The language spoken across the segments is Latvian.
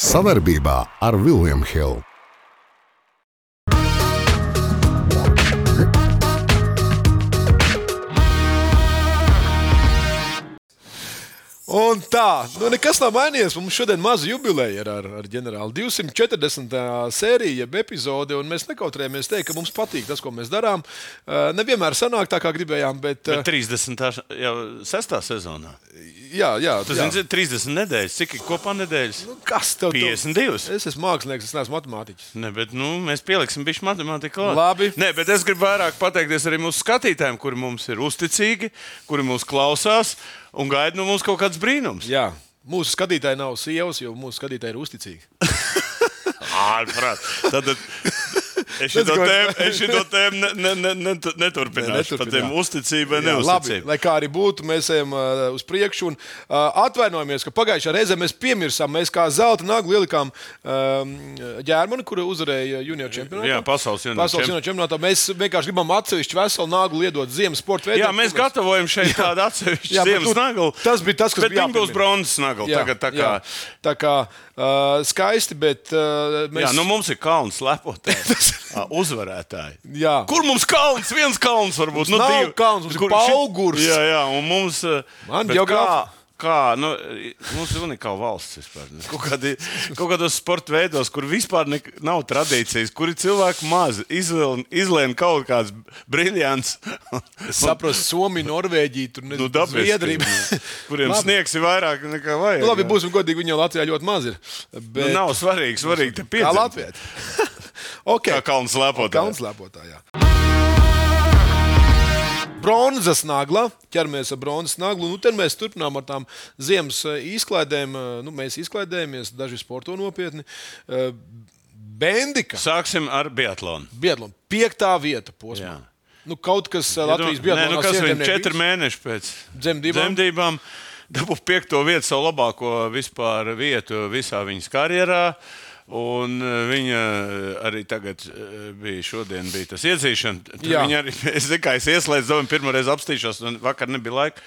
Savaarbībā ar Vilniem Hilu. Un tā, nu nekas nav mainījies. Mums šodien maza jubileja ir ar, ar ģenerāli 240. sērija, jeb epizode, un mēs nekautrējamies teikt, ka mums patīk tas, ko mēs darām. Eh, Nevienmēr sanāk tā, kā gribējām, bet. eh, Bet 30. jau 6. sezonā. Jā, jā, Tas jā. ir 30 nedēļas. Cik ir kopā nedēļas? Nu, Kas tev 52. Es esmu mākslinieks, es neesmu matemātiķis. Ne, bet, nu, mēs pieliksim pieci matemātiku. klāt. Labi. Nē, bet es gribu vairāk pateikties arī mūsu skatītājiem, kuri mums ir uzticīgi, kuri mūs klausās un gaida no mums kaut kāds brīnums. Jā. Mūsu skatītāji nav sievas, jo mūsu skatītāji ir uzticīgi. Ārprāt. Tad, tad es šo ko- tēmu, es šito tēmu ne, ne, ne, ne, neturpināšu. Ne, neturpinā. Ne, Par tiem uzticībai, Jā, labi, neuzticībai. lai kā arī būtu, mēs ejam uh, uz priekšu. Un, uh, atvainojamies, ka pagājušā reizē mēs piemirsām. Mēs kā zelta nagla ielikām um, ģērmanu, kuru uzvarēja junior čempionātā. Jā, pasaules junior Pasaules junior čempionātā. Mēs vienkārši gribam atsevišķu veselu naglu iedot ziemas sporta veidiem. Jā, mēs gatavojam šeit tādu Jā, atsevišķu bet ziemas tur- naglu. tas bija tas, kas Bet bija viņi būs jāpiemin. bronzas nagla. Tagad tā kā. jā. tā kā uh, skaisti, bet uh, mēs. Mēs... Jā, nu mums ir kauns lepoties. Uzvarētāji. jā. Kur mums kauns? Viens kauns varbūt. Nu, nav divi. kauns, mums ir paugurs. Jā, jā, un mums. eh, Man bet geogrāfa. Kā, kā nu, eh, mums ir unikāla valsts vispār. ne? Kaut, kādi, kaut kādos sporta veidos, kur vispār ne, nav tradīcijas, kur ir cilvēki maz izvēl- izlēma kaut kāds briljants. Saprast, Somija, Norvēģija, tur Nu, nezinu, dabiski, Zviedrija. nu, Kuriem Labi. sniegs ir vairāk nekā vajag. Nu, Labi, jā. būsim godīgi, viņi jau Latvijā ļoti maz ir. Nu, Bet... nav svarīgi. Svarīgi te Kā piedzīvot. Latvijā? okay. Kā kauns lepoties. Kauns lēpotājā. Bronzas nagla. Ķeramies ar bronzas naglu. Nu, tad mēs turpinām ar tām ziemas eh, izklaidēm. Eh, Nu, mēs izklaidējamies, daži sporto nopietni. Eh, Bendika. Sāksim ar biatlonu. Biedlona. Piektā vieta posmā. Jā. Nu, kaut kas eh, Latvijas biedlonā. Nē, nu, kas viņam četri mēneši pēc Dzemdībām? dzemdībām dabū piekto vietu, savu labāko vispār vietu visā viņas karjerā. Un eh, viņa eh, arī tagad eh, bija, šodien bija tas iedzīšana. Tur Jā. Viņa arī, es tikai ieslēdzu, domāju, pirmo reizi apstīšos, un vakar nebija laika.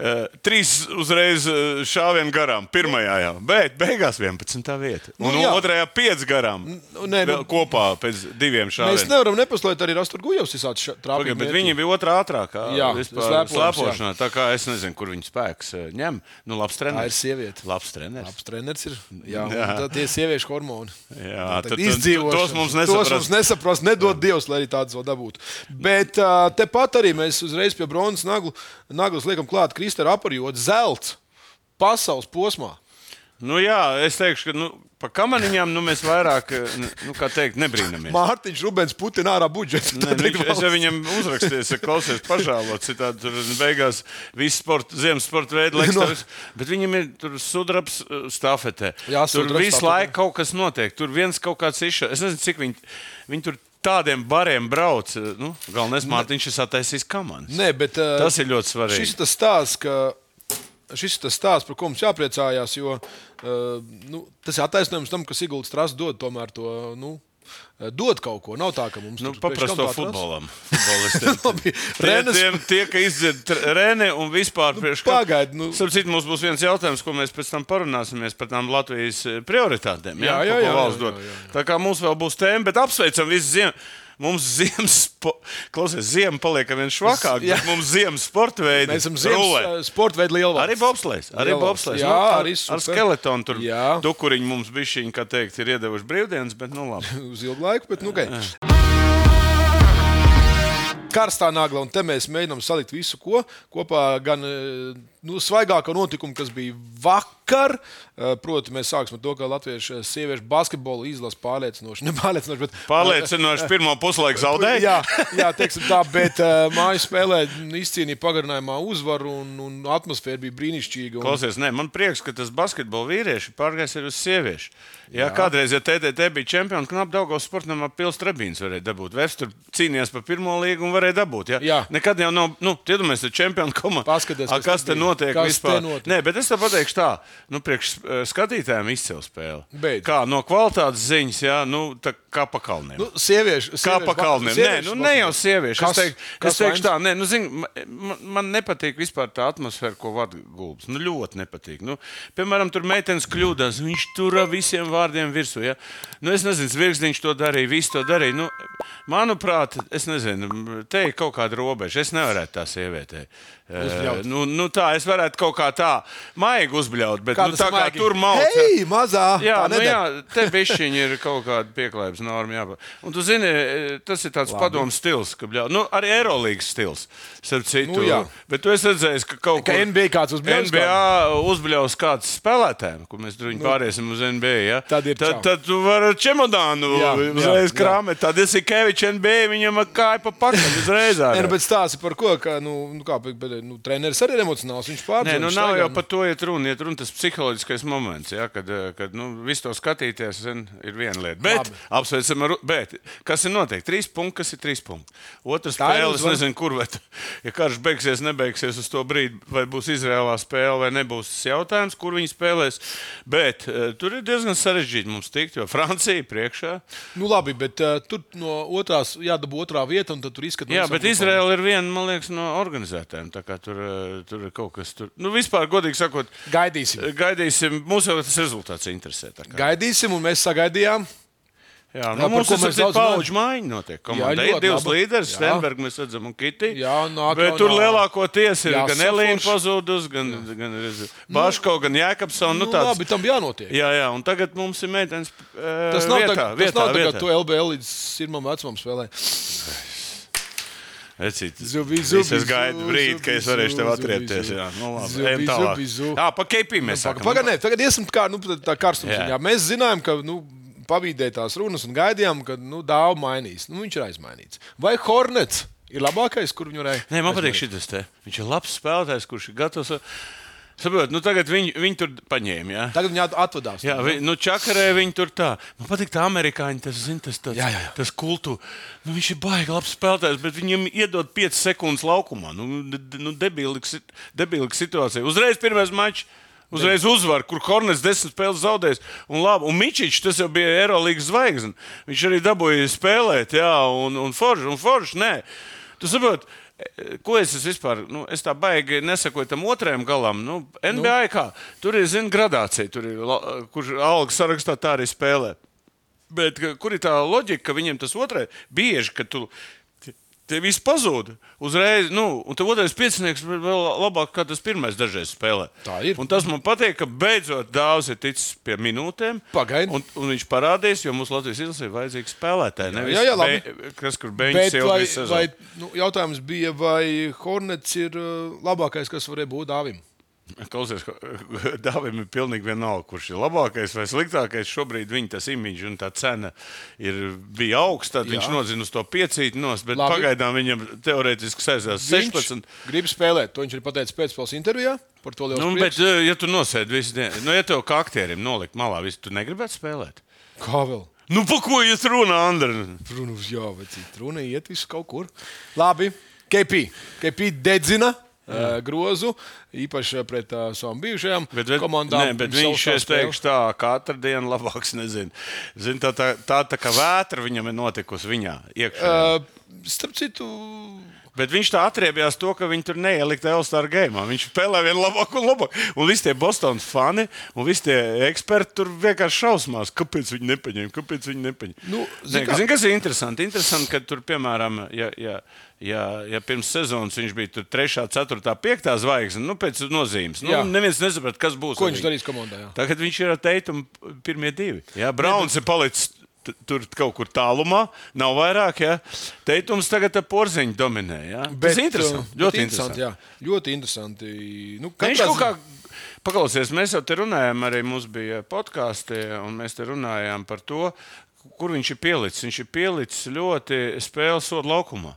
Eh, Trīs uzreiz eh, šāvienu garām, pirmajā jau, bet beigās 11. vieta. Un Nu, nu, jā. otrajā 5 garām. nu, nē, nu- Vēl kopā pēc diviem Mēs šāvieniem. nevaram nepaslēgt arī Rasturgujevs visādi šā- trāpīt. Pagaid, bet mērķi. viņi bija otrā ātrākā. Jā, vispār slēpošanas, slēpošanā. Tā kā es nezinu, kur viņa spēks eh, ņem. Nu, labs treneris. Tā ir sieviete. Labs treneris. Labs treneris ir. Jā, jā. Jā. Tad tie ir sieviešu hormoni. Jā, Nu, tad tad- tad- izdzīvot. tos Tos mums nesaprast. mums nesaprast. Nedod Dievs, lai arī tādas vēl dabūtu. Bet uh, tepat arī mēs uzreiz pie bronzas naglu, naglas liekam klāt Kristēra apgabalu, zelta pasaules posmā. Nu, jā, es teikšu, ka nu, par kamaniņām nu, mēs vairāk eh, nu, kā teikt, nebrīnamies. Mārtiņš Rubens, Putina ārā budžets. Nē, viņš, es jau viņam uzrakstīju, es klausos, pažēlot, citādi tur beigās viss sporta, ziemas sporta veids, laiks, No. no. bet viņam ir tur sudrabs eh, stafetē. Jā, tur sudrabs visu stafetē. laiku kaut kas notiek, tur viens kaut kāds izšā. Es nezinu, cik viņi, viņi tur tādiem bariem brauc. eh, Nu, galvenais Mārtiņš ir attaisījis kamanas. Nē, bet, uh, Tas ir ļoti svarīgi. Šis ir tas stāsts, ka, šis ir tas stāsts par ko mums jāpriecājās. Jo, uh, nu, tas ir attaisnojums tam, ka Sigūda strāsa dod tomēr to. Nu, eh, Dod kaut ko. Nav tā, ka mums Nu, tur pēkšņi Paprasto kaut kā atrasts. futbolam. Futbolistiem. Labi, Renes- Renes... Tiem, tie, ka izdzird Rēne un vispār priekš kā- pagaid, nu. Starp citu, mums būs viens jautājums, ko mēs pēc tam parunāsimies par tām Latvijas eh, prioritātēm. Jā, Jā, jā, ko- ko jā, valsts jā, dod. jā, Tā kā mums vēl būs tēma, bet apsveicam visu ziemu. Mums ziemas, spo... klausies, ziema paliek ar vien švakāk, Jā. bet mums ziemas sporta veidi. Mēs esam rulē. ziemas sporta veidu lielvārds. Arī bobslēs. Arī Lielvalsts. bobslēs. Jā, ar, arī ar super. skeletonu tur. Jā. Dukuriņi mums bija šī, kā teikt, ir iedevuši brīvdienas, bet nu labi. uz ilgu laiku, bet nu, okay. Karstā nagla, un te mēs mēģinām salikt visu, ko kopā gan eh, nu, svaigāko notikumu, kas bija vakar. eh, Proti, mēs sāksim ar to, ka latviešu eh, sieviešu basketbolu izlase pārliecinoši, ne pārliecinoši, bet Pārliecinoši pirmo puslaiku zaudēju. Jā, jā teiksim tā, bet uh, mājas spēlē mm, izcīnīja pagarinājumā uzvaru, un, un atmosfēra bija brīnišķīga. Un, Klausies, nē, man prieks, ka tas basketbols vīrieši pārgājis arī uz sieviešu. Jā, jā. Kādreiz, ja TTT bija čempions, knapi Daugos sportamā pilsēta Trebīns varēja dabūt. Vērs tur cīnījās par pirmo līgu un varēja dabūt. Jā. Jā. Nekad jau nav, nu, iedomājieties, čempionu komandu. Paskaties, A, kas kas tur te bija. notiek Kas te vispār. notiek? Nē, bet es tev pateikšu tā, nu, priekš eh, skatītājiem izcēla spēle. Beidz. Kā no kvalitātes ziņas, jā, nu, tā kā pa kalniem. Nu, sieviešu, Kā sieviešu pa kalniem? Nē, sieviešu nu, vakaru. ne jau sieviešu. Kas- Kas, es teiktu, kas es teikšu vainas? tā, nē, nu, zin, man, man nepatīk vispār tā atmosfēra, ko vada gulbis. Nu, ļoti nepatīk. Nu, piemēram, tur meitenes kļūdās. Viņš tur ar visiem vārdiem virsū. Ja? Nu, es nezinu, zvirgzdiņš to darīja, viss to darīja. Nu, manuprāt, es nezinu, te ir kaut kāda robeža. Es nevaru tā sievietē. Uzbļaut. Eh, Nu, nu, tā es varētu kaut kā tā maigi uzbļaut, bet Kā nu, tas tā kā maigi? tur malā. Hei, mazā! Jā, tā nu nedara. jā, te bišķiņi ir kaut kāda pieklājības norma. Jā. Un tu zini, e, tas ir tāds padoms stils, ka, bļau, nu, arī aerolīgas stils. starp Citu, Nu jā. Bet tu esi redzējis, ka kaut Ka kur NBA kāds uzbļaus NBA uzbļaus kāds spēlētājiem, kur mēs droši nu, pāriesim uz NBA. Ja? tad ir čau. tad, tad tu vari ar čemodānu Jā, jā, uzreiz jā. krāmēt. Tad esi Kevičs NBA, viņam ar kāju pa pakaļ uzreiz. Nē, ārā. nu, bet stāsti par ko, ka, nu, nu kā, bet, bet, nu, treneris arī ir emocionāls, viņš Nē, pārdzīvo. nu nav jau par to iet runa. Iet runa tas psiholoģiskais moments, ja, kad, eh, kad nu, visu to skatīties, zin, ir viena lieta. Bet, Labi. apsveicam, ar- bet kas ir noteikti? Trīs punkti, kas ir trīs punkti. Otrs Tā ir spēle, es uzvara. nezinu, kur, bet, ja karš beigsies, nebeigsies uz to brīdi, vai būs Izrēlā spēle, vai nebūs tas jautājums, kur viņi spēlēs. Bet eh, tur ir diezgan sarežģīti mums tikt, jo Francija priekšā. Nu, labi, bet uh, tur no otrās jādabū otrā vieta, un tad tur izskatās. Jā, bet Izraela ir viena man liekas, no organizētājiem. Tā kā Tur, eh, tur ir kaut kas tur. Nu, vispār, godīgi sakot, Gaidīsim. Gaidīsim, mums jau tas rezultāts interesē. tā kā. Gaidīsim, un mēs sagaidījām. Jā, Jā, nu, mums par ko ir mēs arī daudz paudžu maiņa. Notiek. Jā, Komandā ir ļoti divas laba. līderes, Jā. Stenberga mēs redzam, un Kiti. Jā, nāk Bet no- tur no- lielākoties ir gan Jāsafurš. Elīna pazudus, gan, gan Baško, gan Jēkabsona. Nu, Nu, tāds- labi, tam jānotiek. jā, jā, un tagad mums ir meitenes. eh, Tas nav vietā, tā, vietā, tas nav tā, vietā. ka tu LBL līdz pirmam vecumam spēlē. Ecīt, Zubi, es zubi, gaidu zubi, brīdi, ka es zubi, varēšu tev zubi, atriepties. zubi. Jā, nu, labi, Zubi, ejam tālāk. zubi, zubi. Jā, pa keipī mēs sākam. Pagaidiet, tagad iesim kā, nu, tā- tā karstuma Jā. ziņā. Mēs zinājām, ka nu, pavīdēja tās runas un gaidījām, ka nu, dāvā mainīs. Nu, viņš ir aizmainīts. Vai Hornets ir labākais, kur viņu varēja? Nē, man patīk šis te. Viņš ir labs spēlētājs, kurš ir gatavs. Saprotiet, nu tagad viņi, viņi tur paņēma. Jā. Tagad viņi at- atvadās. Jā, vi, nu, čakarē viņi tur tā. Man patīk, tā amerikāņi tas zina, tas, tas, Jā, jā, jā. tas kultūrs. Nu, viņš ir baigi labs spēlētājs, bet viņam iedod 5 sekundes laukumā. Nu, d- nu debilīga situācija. Uzreiz pirmais mačs. Uzreiz uzvar, kur Hornets desmit spēles zaudējis. Un, labi, un Mičičs, tas jau bija Eirolandes zvaigzne. Viņš arī dabūja spēlēt, jā, un, un Foršs, un Foršs, nē. Tu saproti, e, ko es esmu vispār? Nu, es tā baigi nesakoju tam otrajam galam. Nu, NBA nu. kā tur ir zina, gradācija, tur ir, la- kurš algas sarakstā tā arī spēlē. Bet ka- kur ir tā loģika, ka viņiem tas otrais bieži, ka tu. te- Te viss pazūd. Uzreiz, nu, un tas otrais piecinieks vēl labāk, kā tas pirmais dažreiz spēlē. Tā ir. Un tas man patīk, ka beidzot dāvāts ir ticis pie minūtēm. Pagaidi. Un, un viņš parādīs, jo mums Latvijas izlasē ir vajadzīgi spēlētāji. Nevis jā, jā, labi. be, kas, kur beigas Bet jau vai, bija sezona. vai, nu, jautājums bija, vai Hornets ir uh, labākais, kas varēja būt Dāvim? Klausies, ka- Dāvim ir pilnīgi vienalga, kurš ir labākais vai sliktākais. Šobrīd viņa tas imīģis un tā cena ir, bija augsta. Tad Jā. viņš nodzina uz to piecīti nost, bet Labi. Labi. pagaidām viņam teorētiski saistās 16. Gribu spēlēt, to viņš ir pateicis pēcspēles intervijā. Par to liels Nu, prieks. bet, eh, ja tu nosēdi visu dienu, nu, ja tev kā aktierim nolikt malā, visu, tu negribētu spēlēt. Kā vēl? Nu, pa ko jūs runājat, Andri? Runa uz jā, bet cita runa iet visu kaut kur. Labi, KP. KP dedzina. eh, Grozu īpaši pret uh, savām bijušajām Bet, bet, komandām. nē, bet un viņš savu es teikšu, tā katru dienu labāks. Nezinu. Zin, tā, tā, tā, tā kā vētra viņam ir notikusi viņā iekšā. Uh. spēli. Eh, Starp citu, Bet viņš tā atriebjās to, ka viņi tur neielika Elstāra gēmā. Viņš spēlē vienu labāku un labāku. Un visi tie Bostonas fani un visi tie eksperti tur vienkārši šausmās, kāpēc viņi nepaņēma. Kāpēc viņi nepaņēma. Nu, zin Nē, kā- zin, kas ir interesanti? Interesanti, ka tur, piemēram, ja, ja, ja, ja pirms sezonas viņš bija tur 3, 4, 5 zvaigznes, nu, pēc nozīmes. Nu, Jā. neviens nesaprata, kas būs. ko ar viņš viņu. darīs komandā? Jā? Tagad viņš ir ar teikumu pirmie divi. Jā, Browns ir palicis. t- Tur kaut kur tālumā nav vairāk. Jā. Teitums tagad ar porziņu dominē. Jā. Bet, tas ir interesanti. eh, Ļoti bet interesanti. Jā, ļoti interesanti. Nu, Ka Viņš katrā kaut kā ziņā- paklausies, mēs jau te runājām, arī mums bija podkāstī, un mēs te runājām par to, kur viņš ir pielicis. Viņš ir pielicis ļoti spēles sodu laukumā.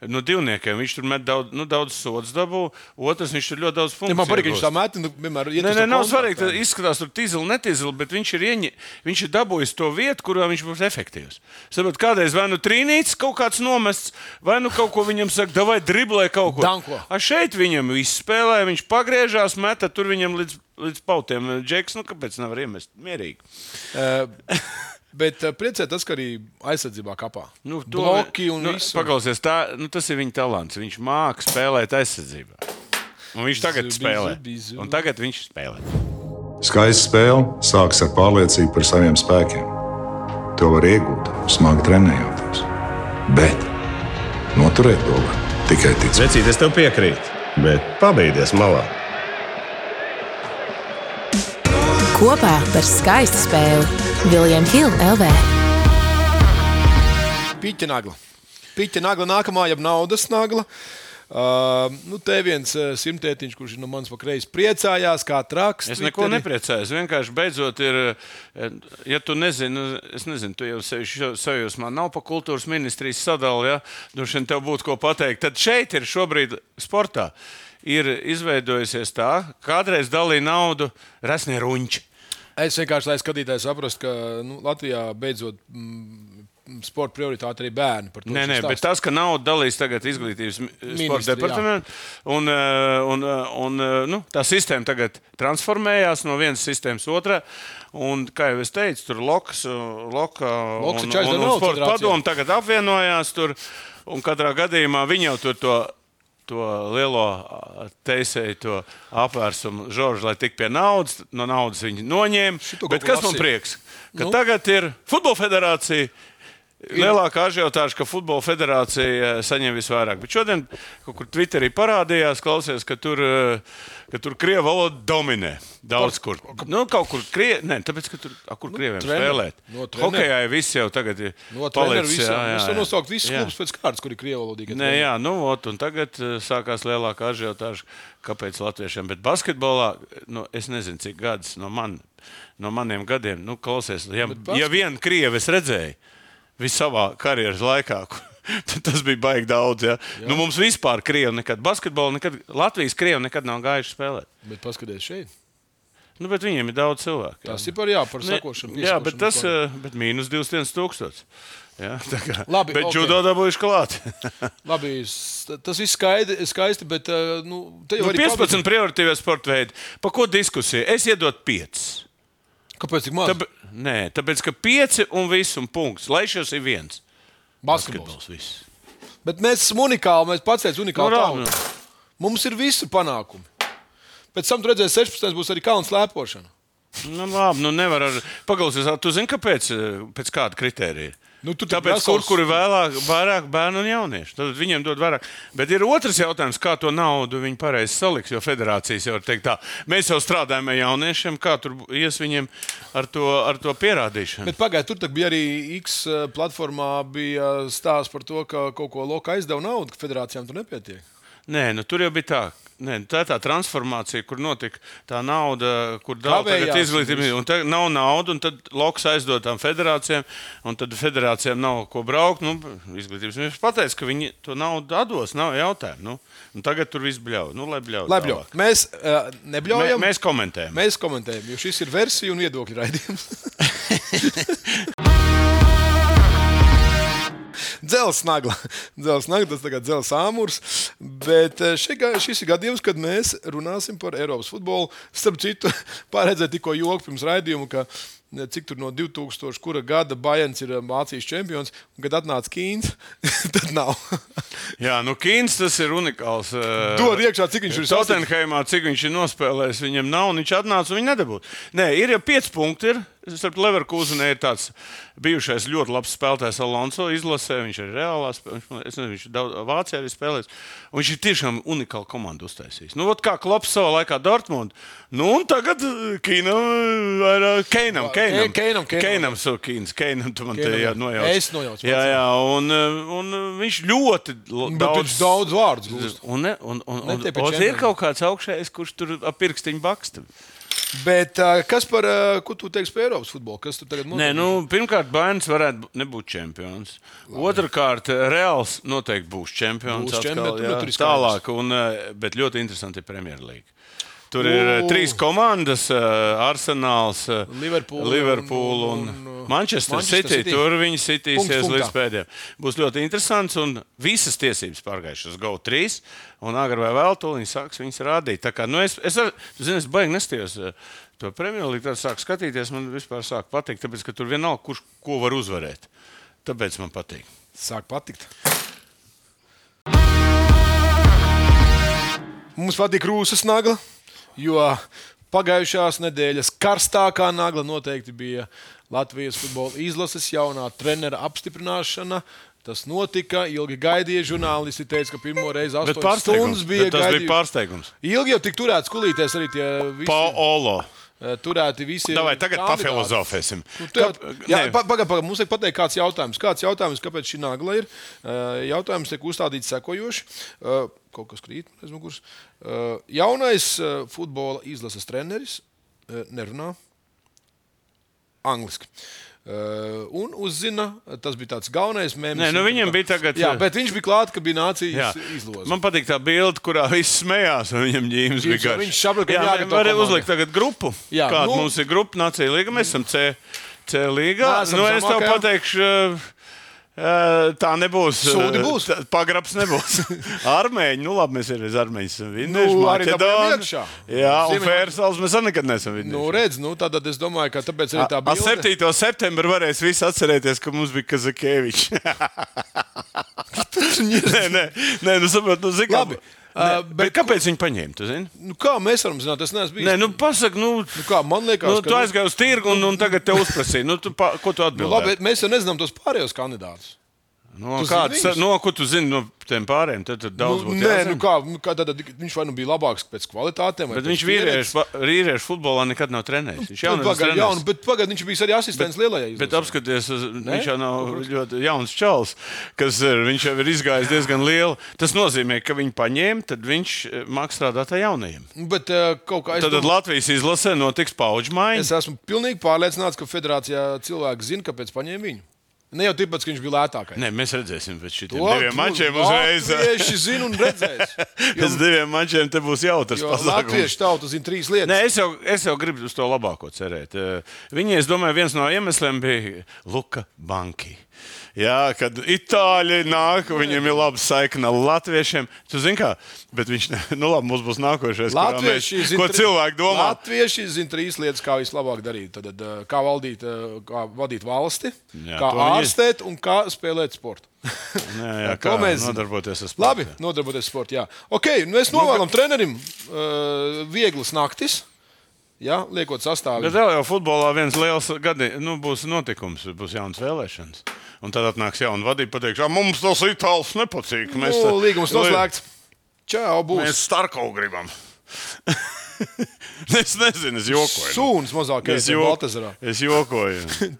No divniekiem viņš tur met daudz, nu, daudz sodu, dabū. Otrs viņš tur ļoti daudz Ja funkciju. man patīk, ka viņš iegūst. tā mētā nu, vienmēr ir. Nē, nē, nav svarīgi, tas izskatās, tur tīzli, netīzli, bet viņš ir, ieņi, viņš ir dabūjis to vietu, kurā viņš būs efektīvs. Sapratu, kādreiz vai nu trīnīts kaut kāds nomests, vai nu kaut ko viņam saka, davai driblē kaut ko. Danko. A šeit viņam viss spēlē, viņš pagriežās, meta tur viņam līdz, līdz pautiem. Džeks, nu kāpēc nevar iemest? Mierīgi. Bet eh, priecē tas, ka arī aizsardzībā kapā. Nu, to, bloki un nu, viss. Paklausies, tā, nu, tas ir viņa talants. Viņš māca spēlēt aizsardzībā. Un viņš tagad Zubi, spēlē. zubi, zubi. Un tagad viņš spēlē. Skaista spēle sākas ar pārliecību par saviem spēkiem. To var iegūt, smagi trenējoties. Bet noturēt to var tikai ticēt. Vecīt, es tev piekrītu, bet pabeigties malā. Kopā par skaistu spēli Viljams Hilde LV. Pīķa nagla. Pīķa nagla nākamā, jeb naudas nagla. Uh, nu, te viens uh, simtētiņš, kurš ir no manas pakreiz priecājās, kā traks. Es neko Twitterī. nepriecājos. Vienkārši beidzot, ir, eh, ja tu nezini, es nezinu, tu jau sevi sajūsmā nav pa kultūras ministrijas sadalījumā, ja? droši vien tev būtu ko pateikt. Tad šeit ir šobrīd sportā. Ir izveidojusies tā, ka kādreiz dalīja naudu resni runči. Es vienkārši, lai skatītāji saprastu, ka nu, Latvijā beidzot mm, sporta prioritāte arī bērni. Par to Nē, šis nē, stāsts. bet tas, ka naudu dalīs tagad izglītības mi- Ministri, jā. sporta departamentā, un, eh, un, eh, un eh, nu, tā sistēma tagad transformējās no vienas sistēmas otrā. Un, kā jau es teicu, tur Lokas, eh, Loka, Loks un, ir čaļš un, Donalds un sporta federācijā. padomu tagad apvienojās tur. Un katrā gadījumā viņi jau tur to, to lielo teisēju, to apvērsumu, Žorži, lai tik pie naudas, no naudas viņi noņēma. kaut Bet kur kas man lasīju. prieks? Ka Nu? nu? tagad ir Futbola federācija. Lielākā ažiotāža, ka Futbola federācija eh, saņem visvairāk. Bet šodien kaut kur Twitterī parādījās, klausies, ka tur, eh, ka tur krievu valoda dominē. Daudz kur. Nu, kaut kur krievi, nē, tāpēc, ka tur, a, kur krieviem treneru. spēlēt. No treneru. Hokejā jau viss jau tagad ir No Nu, treneru palicis, visiem. Es varu nosaukt visus Jā. klubus pēc kārtas, kur ir krievalodīgi. Nē, jā, nu, ot, un tagad eh, sākās lielākā ažiotāža, kāpēc latviešiem. Bet basketbolā, eh, nu, es nezinu, cik gadus no, man, no maniem gadiem, nu, klausies, ja, basket- ja vienu krievi es redzēju visā karjeras laikā. kur- tad Tas bija baigi daudz. Ja? Nu, mums vispār krievi nekad, basketbolā nekad, Latvijas krievi nekad nav gājuši spēlēt. Bet paskatieties šeit. Nu, bet viņiem ir daudz cilvēku. jā. Tas ir par, jā, par Ne- sakošanu. Jā, bet piesakošanu tas vispār. ir mīnus 21,000. Jā, tā kā. Labi, bet ok. džudo dabūjuši klāt. Labi, s- tas viss skaidri, skaisti, bet eh, nu, te jau Nu, arī 15 prioritīvie sporta veidi. Par ko diskusija? Es iedodu 5. Kāpēc, kāpēc tik maz? Tāb nē, tāpēc, ka 5 un viss un punkts. Lai šis ir viens. Basketbols. viss. Bet mēs esam unikāli, mēs pats esam Nu, unikāli. rāmu, tauta. Mums ir visi panākumi. Pēc tam tur redzēs 16. būs arī kalns lēpošana. nu, labi, nu nevar ar... Pagalsies, tu zini, kāpēc, eh, pēc kāda kritērija? Nu, tu tur Tāpēc, kur, vesels- kur ir vēlāk, vairāk bērnu un jauniešu, tad viņiem dod vairāk. Bet ir otrs jautājums, kā to naudu viņi pareizi saliks. Jo federācijas jau var teikt, tā, mēs jau strādājam ar jauniešiem, kā tur bū- ies viņiem ar to, ar to pierādīšanu. Bet pagājušajā tur tak bija arī X eh, platformā bija stāsts par to, ka kaut ko loka aizdeva naudu, ka federācijām tur nepietiek. Nē, nu, tur jau bija tā. Nē, nu, tā ir tā transformācija, kur notika tā nauda, kur Kavējās daudz viss. izglītība. Un tagad nav naudas, un tad loks aizdod tām federācijām, un tad federācijām nav ko braukt. Nu, izglītības ministrs pateica, ka viņi to naudu atdos, nav jautājumu. Nu, un tagad tur viss bļauj. Nu, lai bļauj. Labi, jau. tālāk. Mēs uh, Mē, nebļaujam, mēs, mēs komentējam. Mē... mēs komentējam, jo šis ir versija un viedokļu raidījums. Dzelsnagla. Dzelsnagla, tas tagad dzels āmurs. Bet eh, šī, ga- šis ir gadījums, kad mēs runāsim par Eiropas futbolu. Starp citu, pārredzēju tikko joku pirms raidījuma, ka eh, cik tur no 2000 kura gada Bajans ir eh, Vācijas čempions, un kad atnāca Kīns, tad nav. Jā, nu, Kīns tas ir unikāls. eh, Dod iekšā, cik viņš ir sasniedzis. Tottenhamā, cik viņš ir nospēlējis, viņam nav, un viņš atnāca un viņa nedabūja. Nē, ir jau pieci punkti. Ir. Starp Leverkusenē ir tāds bijušais ļoti labs spēlētājs Alonso izlasē, viņš ir reālā spēlē, viņš, man- es nezinu, viņš ir daudz, Vācijā arī spēlējis. Un viņš ir tiešām unikāla komanda uztaisījis. Nu, ot kā Klops savā laikā Dortmund, nu un tagad eh, Kīnam, vai eh, Keinam, Keinam. Keinam, Keinam. Keinam, so Kīns, Keinam, tu man te Keinam, jā. jā, nojauc. Es nojaucu Jā, pats. jā, un, eh, un eh, viņš ļoti la- Bet daudz. viņš daudz vārdus gūst. Un, ne- un, un, un, Ne tie un, pa un ir čempionu. kaut kāds augšējs, kurš tur ap pirkstiņu baksta. Bet ā, kas par, ā, ko tu teiksi par Eiropas futbolu? Kas tur tagad Nē, nu, pirmkārt, Bērns varētu bu- nebūt čempions. Otrakārt, Reāls noteikti būs čempions. Būs čempions, bet atkal, tur jā, tur ir skaidrs. tālāk, un, eh, bet ļoti interesanti ir Premjerlīga. Tur ir uh, trīs komandas, uh, Arsenāls, uh, Liverpool Liverpool un, un- un, un, un uh, Manchester Manchester, Manchester City. City. City. Tur viņi sitīsies Punkts līdz punktā. pēdējiem. Būs ļoti interesants, un visas tiesības pārgājušas GO 3, un agrāk vai vēlāk to viņi sāks viņas rādīt. Tā Kā, nu es, es, ar- tu zini, es baigi nestījos. eh, To premjerlīgu tādu sāku skatīties, man vispār sāk patikt, tāpēc, ka tur vienalga, kurš ko var uzvarēt. Tāpēc man patīk. Sāk patikt. Mums patīk krūzes nagla, jo pagājušās nedēļas karstākā nagla noteikti bija Latvijas futbola izlases jaunā trenera apstiprināšana. Tas notika, ilgi gaidīja. Žurnālisti teica, ka pirmo reizi Bet 8 pārsteigums stundas bija bija. Tas bija gaidīju- pārsteigums. Ilgi jau tik turēts kulīties arī tie visi. Paolo. eh, Turēti visi. Davai, tagad kandidāti. pafilozofēsim. Nu, tev- Kap- Jā, nē. pa- pagaid, pagaid, mums ir pateikt, kāds jautājums. Kāds jautājums, kāpēc šī nagla ir? Uh, Jautājums tiek uzstādīts sekojoši. Uh, Kaut kas krīt aiz muguras. Uh, Jaunais uh, futbola izlases treneris uh, nerunā angliski. Uh, Un uzzina, tas bija tāds galvenais mēnesis. Nē, nu viņiem bija tagad- Jā, bet viņš bija klāts, ka bija nācijas Jā. izloze. Man patīk tā bilde, kurā viss smējās. un Viņam ģīmis bija Ģims, garš. viņš saprata, ka jā, jāgatavo mēs varam komanda. uzlikt tagad grupu. Jā, Kāda nu- mums ir grupa? Nācija līga, mēs esam C, C līgā. Mēs esam Nu, es tev zemākajā. pateikšu. eh, Tā nebūs. eh, Sūdi būs. tā- Pagrabs nebūs. Armēņi, nu labi, mēs arī ar armēņiem esam vinnējuši. Nu, arī dabūjām Maķedoni. iekšā. Jā, un Ziemeļ- Fērsals mēs arī nekad neesam vinnējuši. Nu, redz, nu, tātad es domāju, ka tāpēc arī tā A- bija. A 7. septembrī varēs visi atcerēties, ka mums bija Kazakēvičs. nē, nē, nē, nu saprotu, nu, zinu. Labi, Nē, ā, bet, bet bet kāpēc viņi paņēma to? Nu, kā mēs varam zināt, tas neesmu bijis. Nē, nu pasaki, nu, Nu, kā, man liekas, nu, ka- tu aizgāji uz tirgu un, un tagad te uzprasīji. Nu, tu, pa, ko tu Nu, atbildēji? labi, mēs jau nezinām tos pārējos kandidātus. no, tu kāds, zini viņus? no, ko tu zini no tiem pārējiem? Tad tur daudz Nu, būtu nē, jāzina. nu kā, nu kā tad, viņš vai nu bija labāks pēc kvalitātēm, vai Bet viņš vīriešu, pa- vīriešu futbolā nekad nav trenējis. Viņš jau nav Jā, nu, bet pagaid, viņš bija arī asistents lielajai Bet izlasē. apskaties, uz- viņš jau nav ļoti jauns čels, kas ir, viņš jau ir izgājis diezgan lielu. Tas nozīmē, ka viņi paņēma, tad viņš eh, māks strādāt ar jaunajiem. Bet uh, kaut kā es, Tad, tad domāju, Latvijas izlasē notiks paudžu es maiņa. esmu pilnīgi pārliecināts, ka federācijā cilvēki zina, kāpēc paņēma viņu. Ne jau tāpēc, ka viņš bija lētākais. Nē, mēs redzēsim pēc šiem diviem mačiem uzreiz. Tieši zinu un redzēs. Pēc diviem mačiem te būs jautrs Jo pasākums. latviešu tauta zina trīs lietas. Nē, es jau, es jau gribu uz to labāko cerēt. Eh, Viņi, es domāju, viens no iemesliem bija Luka Banki. Jā, kad itāļi nāk, viņiem ir laba saikne ar latviešiem. Tu zini, kā, bet viņš, ne- nu labi, mums būs nākošais. kurā Latvieši mēs, ko tri- cilvēki domā? Latvieši zina trīs lietas, kā vislabāk darīt. Tad, eh, kā, valdīt, eh, kā vadīt valsti, Jā, jā, kā to viņi- ārstēt un kā spēlēt sportu. Jā, jā, To kā mēs zinām. nodarboties ar sportu. Labi, nodarboties sportā. Jā, ok, nu es novēlam trenerim uh, vieglas naktis. Jā, liekot Bet eh, sastāvā. vēl jau futbolā viens liels gadi, nu, būs notikums, būs jaunas vēlēšanas. Un tad atnāks jauna vadība, pateiks, ah, mums tas itālis nepatīk. Nu, Mēs te- līgums noslēgts. Čau, būs Mēs Starko gribam. es nezinu, es jokoju. sūns mazākais es, jok... Baltazarā. es jokoju.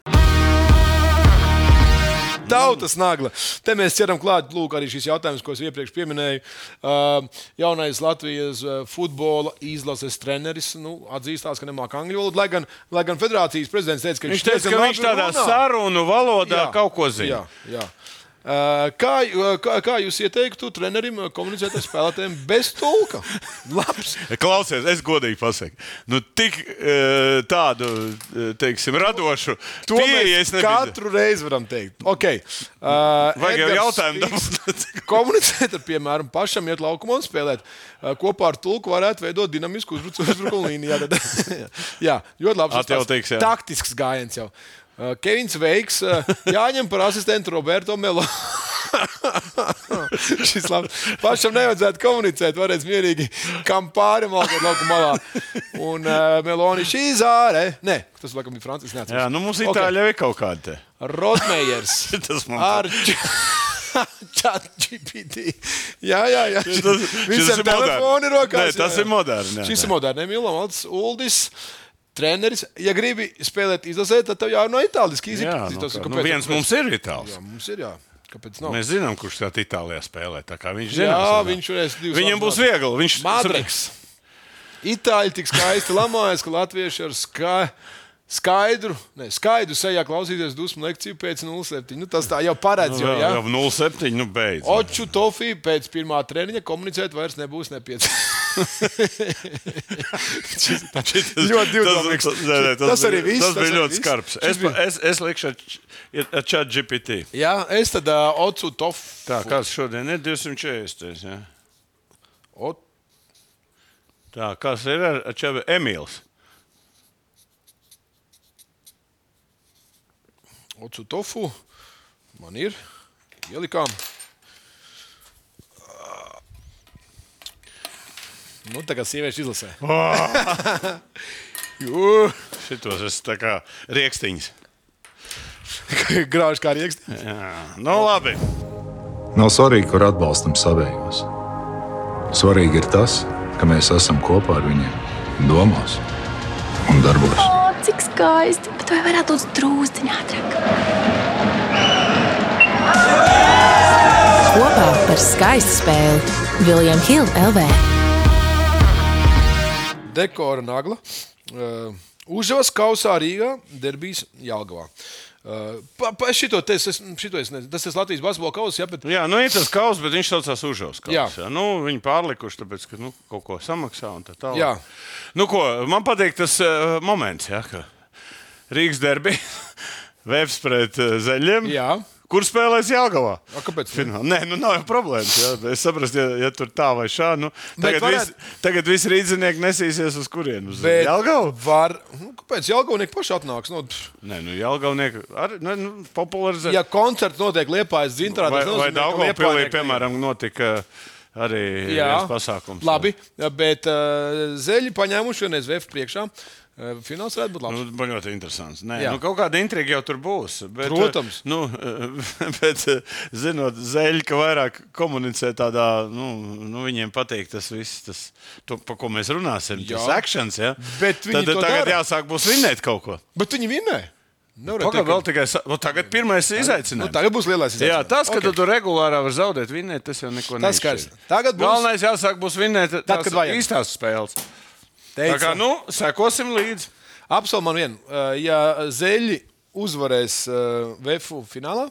Tautas nagla. Te mēs ķeram klāt lūk, arī šis jautājums, ko es iepriekš pieminēju. Uh, jaunais Latvijas uh, futbola izlases treneris nu, atzīstās, ka nemāķi angļu valodu. Lai, gan- lai gan federācijas prezidents teica, ka Viņš teica, ka viņš tādā sarunu valodā jā. kaut ko zina. Jā, jā. Uh, Kā, uh, kā, kā jūs ieteiktu trenerim uh, komunicēt ar spēlētājiem bez tulka? Labs. E, Klausies, es godīgi pasaku. Nu, tik eh, tādu, eh, teiksim, radošu To pieeju mēs es nebiju. katru reizi varam teikt. Okay. Uh, Vajag jau Edgars jautājumu Stīgs- dabūt. komunicēt ar, piemēram, pašam iet laukumā un spēlēt. Eh, Kopā ar tulku varētu veidot dinamisku uzbruc- uzbrukuma līniju. Jā, tad- jā, ļoti labi. Atjautīgs, jā. Taktisks gājiens jau. Eh, Kevins Veiks, eh, jāņem par asistentu Roberto Melo. Šis labs. Pašam nevajadzētu komunicēt, varēs mierīgi kam pāri malkot laukumā. Un uh, Meloni šī zāre. Nē, tas laikam bija Francijas nācis. Jā, nu mums itāļi jau ir kaut kāda. te. Rotmējers. Tas man ar ChatGPT. jā, jā, jā. tas- šis Visam ir moderns. telefoni rokās. Nē, tas ir moderns, jā, Šis tā. ir moderns. Milons, Uldis. Treneris, ja gribi spēlēt izlasē, tad tev jārunā itāliski. Jā, nu, kā, nu, viens mums ir itālis. Jā, mums ir jā. Kāpēc nav? Mēs zinām, kurš tādā Itālijā spēlē. Tā kā viņš jā, zinās, viņš varēs divas. Viņam būs viegli. Viņš Madriks. Itāļi tik skaisti lamājas, ka latvieši ar ska- skaidru, ne, skaidru sejā klausīties dusmu lekciju pēc 0,7. Nu, tas tā jau paredz. Jau, Jā, ja? jau 0,7. Nu, beidz. Oču tofī pēc pirmā treniņa komunicēt vairs nebūs nepieciešams. Tas- Ļoti tas, divdomīgs. tas, nē, nē, Tas arī viss, Tas tas bija arī ļoti viss. skarbs. Šis Es, pa- es, es likšu ar chat GPT. Jā, es tad uh, ocu tofu. Tā, kāds šodien ir 240. Ja? Ot... Tā, kas ir ar ar čabi? Emīls. Ocu tofu man ir. Ielikām. Nu, tā kā sieviešu izlasē. Jū, Šitos es tā kā rīkstiņas. Grauž kā rīksti. Nu, labi. Nav svarīgi, kur atbalstam savējos. Svarīgi ir tas, ka mēs esam kopā ar viņiem, domās un darbos. O, cik skaisti! Bet vai varētu būt drūzdiņā ātrāk? Kopā par skaistu spēli Viljams Hilde LV. Dekora nagla. Uh, Užavas kausā Rīgā, derbijas Jālgavā. Uh, pa, pa, šito te es, es- šito es nezinu. Tas ir Latvijas basketbola kausā, jā, bet Jā, nu ir tas kaus, bet viņš saucās Užovs. Jā. kaus, jā. Nu, viņi pārlikuši, tāpēc, ka nu, kaut ko samaksā un tā tālāk. Jā. Nu, ko, man patīk tas uh, moments, jā, ka Rīgas derbi vēps pret uh, zeļiem. Jā. Kur spēlēs Jālgavā? A, ah, kāpēc ne? Finālā. Nē, nu nav jau problēmas. Jā. Es saprotu, ja, ja tur tā vai šā. Nu, Bet tagad, varētu- varētu... visi, tagad visi rīznieki nesīsies uz kurienu? Uz Bet- Jelgavu? var. Nu, kāpēc Jālgavnieki paši atnāks? No, pff, Nē, nu Jelgavnieki arī nu, popularizē. ja koncerts notiek Liepājas dzintā, vai tas nozīmē, vai ka Daugavpilī, Liepājnieki- piemēram, notika uh, arī Jā, viens pasākums? Labi, bet uh, zeļi paņēmuši vienreiz VF priekšā. Uh, Fināls varētu būt labs. Nu, ba- ļoti interesants. Nē, Jā. nu, kaut kāda intriga jau tur būs. Bet, Protams. eh, Nu, eh, bet, eh, zinot, zēļi, ka vairāk komunicē tādā, nu, nu viņiem patīk tas viss, tas, to, par ko mēs runāsim. Jā. Tas akcents, ja? Bet viņi Tad eh, to tagad dara. jāsāk būs vinnēt kaut ko. Nu, bet viņi vinēja. Nevarētu Pagaidām, nu, vēl teikt, tikai. sa- Nu, tagad pirmais ka- Nu, izaicinājums. tagad būs lielais Jā, izaicinājums. tas, ka okay. Ok. tu regulārā vari zaudēt, vinnēt, tas jau Tas neko neizšķir. skaidrs. Tagad būs- Galvenais jāsāk būs Tad, vinnēt tās kad vajag. īstās spēles. Tā Teicu. kā, nu, sekosim līdzi. Apsolūti man vien, uh, ja zeļi uzvarēs uh, VF finālā,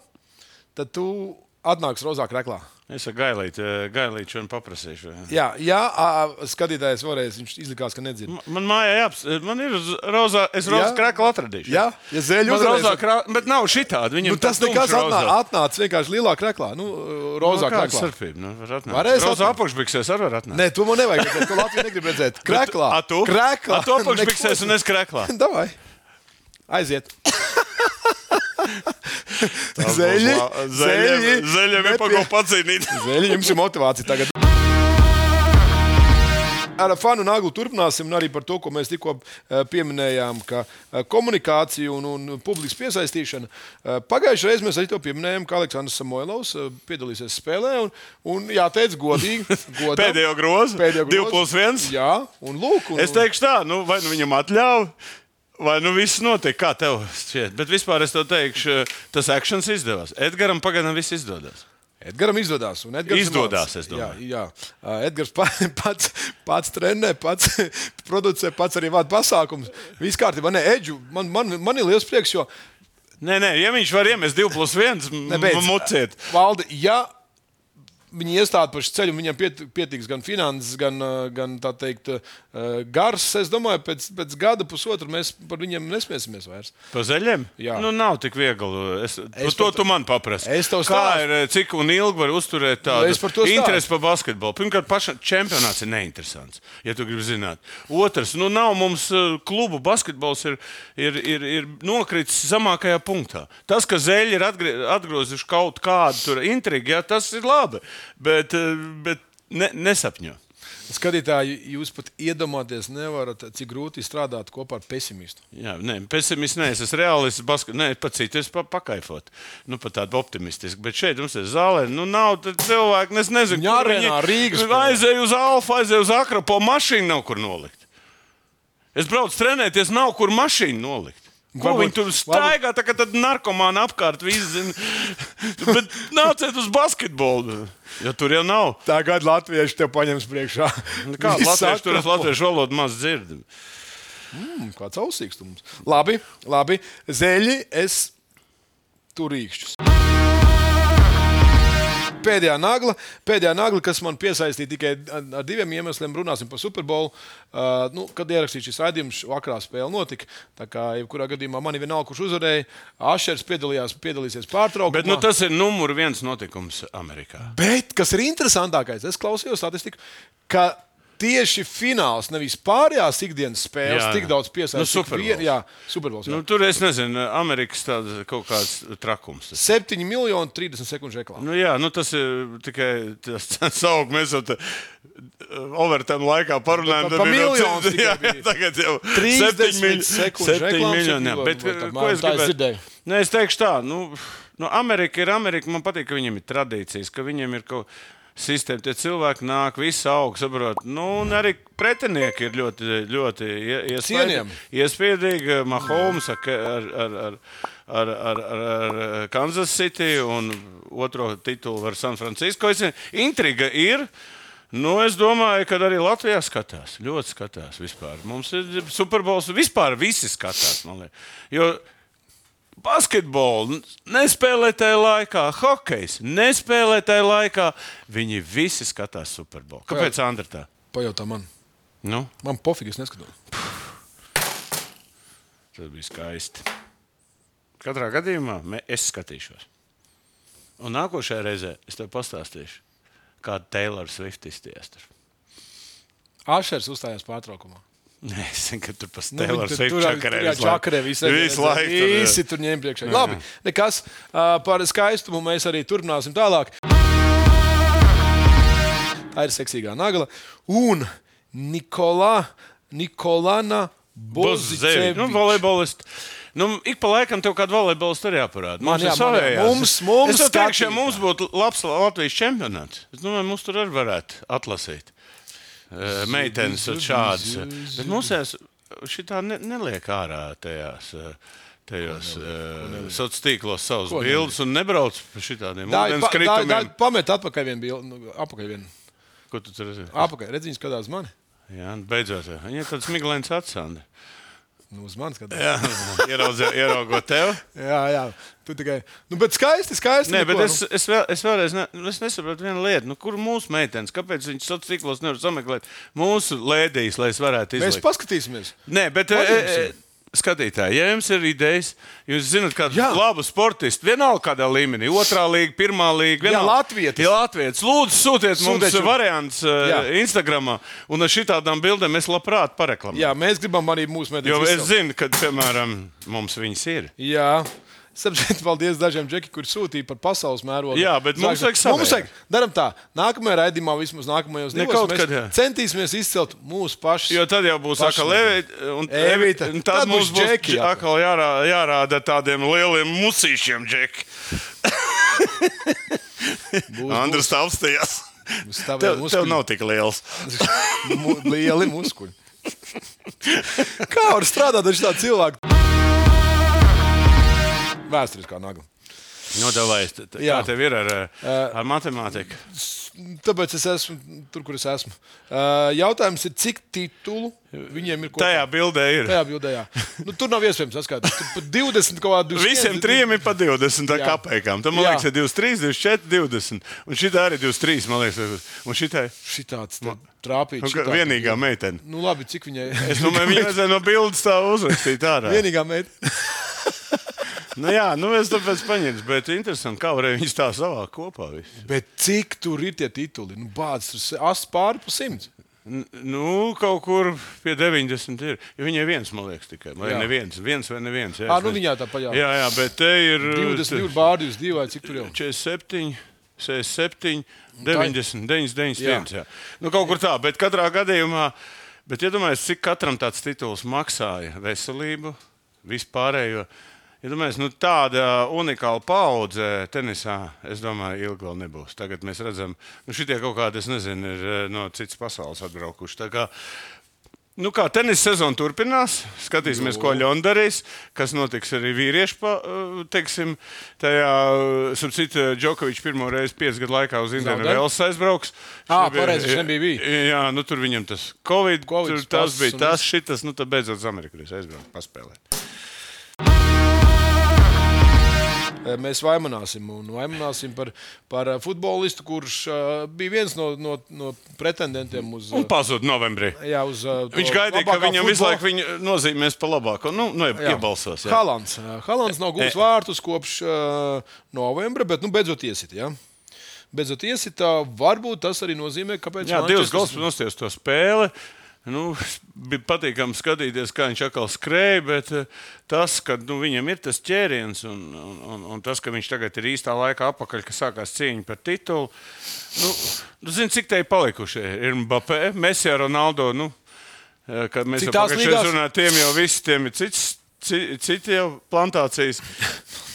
tad tu atnāks rozā krāklā. Es ar Gailītu, eh, Gailītu šodien paprasīšu. jā. Jā, jā uh, skatītājs varēs, viņš izlikās, ka nedzird. Ma- Man mājā jāapstāsta. Man ir uz rozā, es rozā Jā. krāklā atradīšu. Jā, ja zēļu Man uzvarēs- rozā krāklā, bet nav šitādi. Viņam Nu, tas tāds nekas tumšs rozā. atnā, atnāca vienkārši lielā krāklā, nu, uh, rozā Nu, kāda krāklā. starpība? Nu, var atnākt. Varēs Rozā atnākt. apakšbiksēs arī var atnākt. Nē, to man nevajag redzēt. To Latvija negrib redzēt. Krāklā. A tu? Krāklā. A tu apakšbiksēs un es krāklā. Davai. Aiziet. Tas Zeļi, būs la- Zeļiem zeļiem ir pa ko nepie- pacīnīt. Zeļi, jums ir motivācija tagad. Ar fanu naglu turpināsim, un arī par to, ko mēs tikko eh, pieminējām, ka eh, komunikācija un, un publikas piesaistīšana. Eh, Pagājušajā reizē mēs arī to pieminējām, ka Aleksandrs Samoilovs eh, piedalīsies spēlē. Un, un jāteic, godīgi, godam, Pēdējo grozu. pēdējo Divi grozu. plus viens. Jā, un lūk, un, Es teikšu tā, nu, vai nu viņam atļauj, vai nu viss notiek, kā tev šķiet. Bet vispār es to teikšu, tas akcents izdevās. Edgars pagaidām viss izdodas. Edgars izdodas. un Edgars ir Izdodas, mans. es domāju. Jā, jā. Ā, Edgars pa, pats, pats trenē, pats producē, pats arī vada pasākumus. Viss kārtībā. Nē, Edžu, man, man, man ir liels prieks, jo Nē, nē, ja viņš var iemest 2 plus 1, Nebeidz. tad muciet. valdi, ja viņi iestāda pašu ceļu, un viņiem piet, pietiks gan finanses, gan, ā, gan tā teikt, ā, gars. Es domāju, pēc, pēc gada, pusotra mēs par viņiem nesmiesimies vairs. Pa zeļiem? Jā. Nu, nav tik viegli. Es, es Es to pat- tu man paprasti. Es tev Kā stāstu. ir, eh, cik un ilgi var uzturēt tādu Nu, es par to stāstu. interesi par basketbolu? Pirmkārt, paša čempionāts ir neinteresants, ja tu gribi zināt. Otrs, nu, nav mums uh, klubu basketbols ir, ir, ir, ir nokritis zemākajā punktā. Tas, ka zeļi ir atgrie- atgrozuši kaut kādu tur intrigu, jā, tas ir labi, bet, uh, bet ne, nesapņo. Skatītāji, jūs pat iedomāties, nevarat, cik grūti strādāt kopā ar pesimistu. Jā, nē, pesimists, nē, es esmu realists, basket, nē, pat citu es pa, pakaifot. Nu, pat tādu optimistisku, bet šeit mums ir zālē, nu, nav tad cilvēku, nu, es nezinu, Viņa kur arēnā Rīgas Nu, spēlē. Aizēju uz Alfa, aizēju uz Akrapo, mašīnu nav kur nolikt. Es braucu trenēties, nav kur mašīnu nolikt. Ko Varbūt- viņi tur staigā, tā kā tad narkomāni apkārt viss zina. Bet nāciet uz basketbolu, jo tur jau nav. Tā gada latvieši tev paņems priekšā. Nu Kā Viss latvieši tur atkal. ir latviešu valodu maz dzird? Kāds ausīgs tu mums? Labi, labi. Zeļi, es turīkšķus. Pēdējā nagla, pēdējā nagla, kas man piesaistīja tikai ar- ar diviem iemesliem, runāsim par Superbolu. Uh, nu, kad ierakstīju šis raidījums, vakarā spēle notika. Tā kā jebkurā gadījumā man ir vienalga, kurš uzvarēja. Ašers piedalījās, piedalīsies pārtraukumā. Bet nu, tas ir numur viens notikums Amerikā. Bet kas ir interesantākais, es klausījos statistiku, ka tieši fināls, nevis pārējās ikdienas spēles, jā, Jā, jā. tik jā. daudz Nu, piesaistīja. Super Bowls. Jā, Superbols. Nu, tur es nezinu, Amerikas tāds kaut kāds trakums. Tas. 7 miljoni 30 sekundžu reklāmas. Nu, jā, nu, tas ir tikai tas augsts. Mēs jau tādā overtime laikā parunājām. Pa- pa tad ir jau miljonu cits- jā, tikai bija. tagad jau 30 septiņi mil- sekundes septiņi reklāmas, miljoni. septiņi jā. Bet, vai tā, ko es tā es dzirdēju. gribēju? Nē, es teikšu tā, nu, nu, Amerika ir Amerika. Man patīk, ka viņiem ir tradīcijas, ka viņiem ir kaut kas. Sistēma, tie cilvēki nāk, viss aug, saprot. Nu, un arī pretinieki ir ļoti, ļoti ie- iespaidi- Cienījami. Iespiedīgi Mahomes ar, ar, ar, ar, ar, ar, ar ar Kansas City un otro titulu ar San Francisco. Es, intriga ir. Nu, es domāju, ka arī Latvijā skatās. Ļoti skatās vispār. Mums ir superbols. Vispār visi skatās. man liek. Jo basketbolu nespēlē tajā laikā, hokejs nespēlē tajā laikā. Viņi visi skatās superbolu. Kāpēc Andrēta? Pajautā man, Nu, man pofīgi, es neskatos. Tas bija skaisti. Katrā gadījumā me- es skatīšos. Un nākošajā reizē es tev pastāstīšu, kāda ir Taylor Swift iztiesta. Ašers uzstājās pārtraukumā. Nē, es zinu, ka tur pats Nu, Taylor viņi Swift tur- čakarē. jā, visu laiku. čakarē visu Visu laiku. tur, jā. Visi tur ņēma priekšā. Labi, nekas uh, par skaistumu mēs arī turpināsim tālāk. Tā ir seksīgā nagla. Un Nikolā, Nikolāna Bozevi. Nu, Boziceviča. volejbolists. Nu, ik pa laikam tev kādu volejbolistu arī jāparāda. Man Mums ir jā, man jā. savējās. Mums- mums Es jau teikšu, ja skatītājiem. mums būtu labs Latvijas čempionāts, es domāju, mums tur arī varētu atlasīt. eh, Meitenes un šādas. eh, Bet mums šī tā ne, neliek ārā tajās. eh, Tajos uh, sociālos tīklos savus bildes un nebrauc par Tā ir šādiem pa- tā- tā ūdenskritumiem. ir pamet atpakaļ vienu bildi. nu, Apakaļ vienu. Ko tu tur redzēji? Apakaļ. Redz, viņi skatās uz mani. Jā, nu, beidzot. jā. Viņai tāds miglains atsāns. Nu, uz mani skatās. Jā, ieraudzīju, ieraugot tevi. Jā, jā. Tu tikai. Nu, bet skaisti, skaisti. Nē, neko, bet nu. es, es, vēl, es vēlreiz ne, nu, es nesaprotu vienu lietu. Nu, kur mūsu meitenes, kāpēc viņas sociālos tīklos nevar sameklēt mūsu lēdijas, lai es varētu Mēs izdarīt? paskatīsimies. Nē, bet. e, e, Skatītāji, ja jums ir idejas, jūs zināt, kādu Jā. labu sportistu, vienalga kādā līmenī, otrā līnija, pirmā līnija, vienalga. latvietis. Jā, latvietis. Lūdzu, sūtiet mums Sūtiet jums. variants Jā. uh, Instagram, un ar šitām bildēm es labprāt pareklamēju. Jā, mēs gribam arī mūsu medus. Jo es zinu, ka, piemēram, mums viņas ir. Jā. Sapratu, paldies dažiem džekiem, kuriem sūtīja par pasaules mērogu. Jā, bet mums vajag savējo. Mums vajag, darām tā. Nākamajā raidījumā, vismaz nākamajos Ne divos, kaut mēs kad, jā. centīsimies izcelt mūsu pašu. Jo tad jau būs Paši atkal Levita un Evita. un Tad Tad būs mums būs džeki džeki, atkal. atkal jārā, jārāda tādiem lieliem musīšiem džeki. Andrēs apstājās. Mums tā vēl Tev, muskuļi. tev nav tik liels. Mu- lieli muskuļi. Kā var strādāt ar šādu cilvēku? Vēsturiskā nagla. Nu, davai, t- t- Jā. kā tev ir ar, eh, ar matemātiku? Tāpēc es esmu tur, kur es esmu. Uh, jautājums ir, cik titulu viņiem ir kopā? Tajā bildē ir. Tajā bildē, jā. Nu, tur nav iespējams saskaitīt. Tur pat 20 kaut kādu Visiem trim ir pa 20 Jā. kopējām. Tad man Jā. liekas, ir 23, 24, 20. Un šī arī 23, man liekas, un šī tā Šitāds te trāpīt. ir šitāds. Nu, vienīgā meitene. Nu, labi, cik viņai. Es domāju, viņa vajadzēja no bildes tā uzrakstīt ārā. Vienīgā meita. Nu, jā, nu es tāpēc paņēmu, bet interesanti, kā varēja viņas tā savākt kopā. visu. Bet cik tur ir tie tituli? Nu, bāds, tur se- ast pāri pa simts. N- Nu, kaut kur pie 90 ir. Ja viņai viens, man liekas, tikai. Vai Jā. neviens, viens vai neviens. Ā, Jā, es nu nezinu. viņā tā paļāva. Jā, jā, bet te ir 22 te- bārdi uz divai, cik tur jau. 47. 67, Nu, tā ir- 90, 91. Jā. Jā. Nu, kaut kur tā, bet katrā gadījumā, bet iedomājieties, cik katram tāds tituls maksāja veselību, vispārējo. Iedomājieties, nu, tāda unikāla paudze tenisā, es domāju, ilgi vēl nebūs. Tagad mēs redzam, nu, šitie kaut kādi, es nezinu, ir eh, no citas pasaules atbraukuši. Tā kā Nu kā tenisa sezona turpinās, skatīsimies, ko Nu. Leon darīs, kas notiks arī vīriešu, pa- eh, teiksim, tajā, eh, starp citu, Džokovičs pirmo reizi piecu gadu laikā uz Indiju Zaudē? vēl aizbrauks. Ā, Viņš nebija- pareizi, viņš nebija bijis. Jā, nu tur viņam tas Covid, Covid Covid tur, tas pass bija un tas, šitas, nu tad beidzot uz Ameriku viņš aizbrauks paspēlēt. Mēs vaimanāsim, un vaimanāsim par, par eh, futbolistu, kurš eh, bija viens no, no, no pretendentiem uz. Un eh, pazud novembrī. Jā, uz, eh, to Viņš gaidīja, ka labākā viņam visu futbola- laiku viņu nozīmēs pa labāko. Nu, nu Jā. iebalsos. jā. Haalands. jā. Haalands nav gūlis E. vārtus kopš uh, novembra, bet nu, beidzot iesit. Jā. Beidzot iesit, uh, varbūt tas arī nozīmē, kāpēc. Jā, divas Manchesters- gulas nosties to spēli. Nu, bija patīkami skatīties, kā viņš atkal skrēja, bet eh, tas, ka nu, viņam ir tas ķēriens un, un, un, un tas, ka viņš tagad ir īstā laika apakaļ, kad sākās cīņa par titulu, nu, nu zini, cik te ir palikušie. Ir Mbappé, Messi, Ronaldo. Nu, eh, kad mēs Cik jau tās pagājušajā līgās? gadsimtā runājām, tiem jau visiem ir cits. ci- Citi jau plantācijas.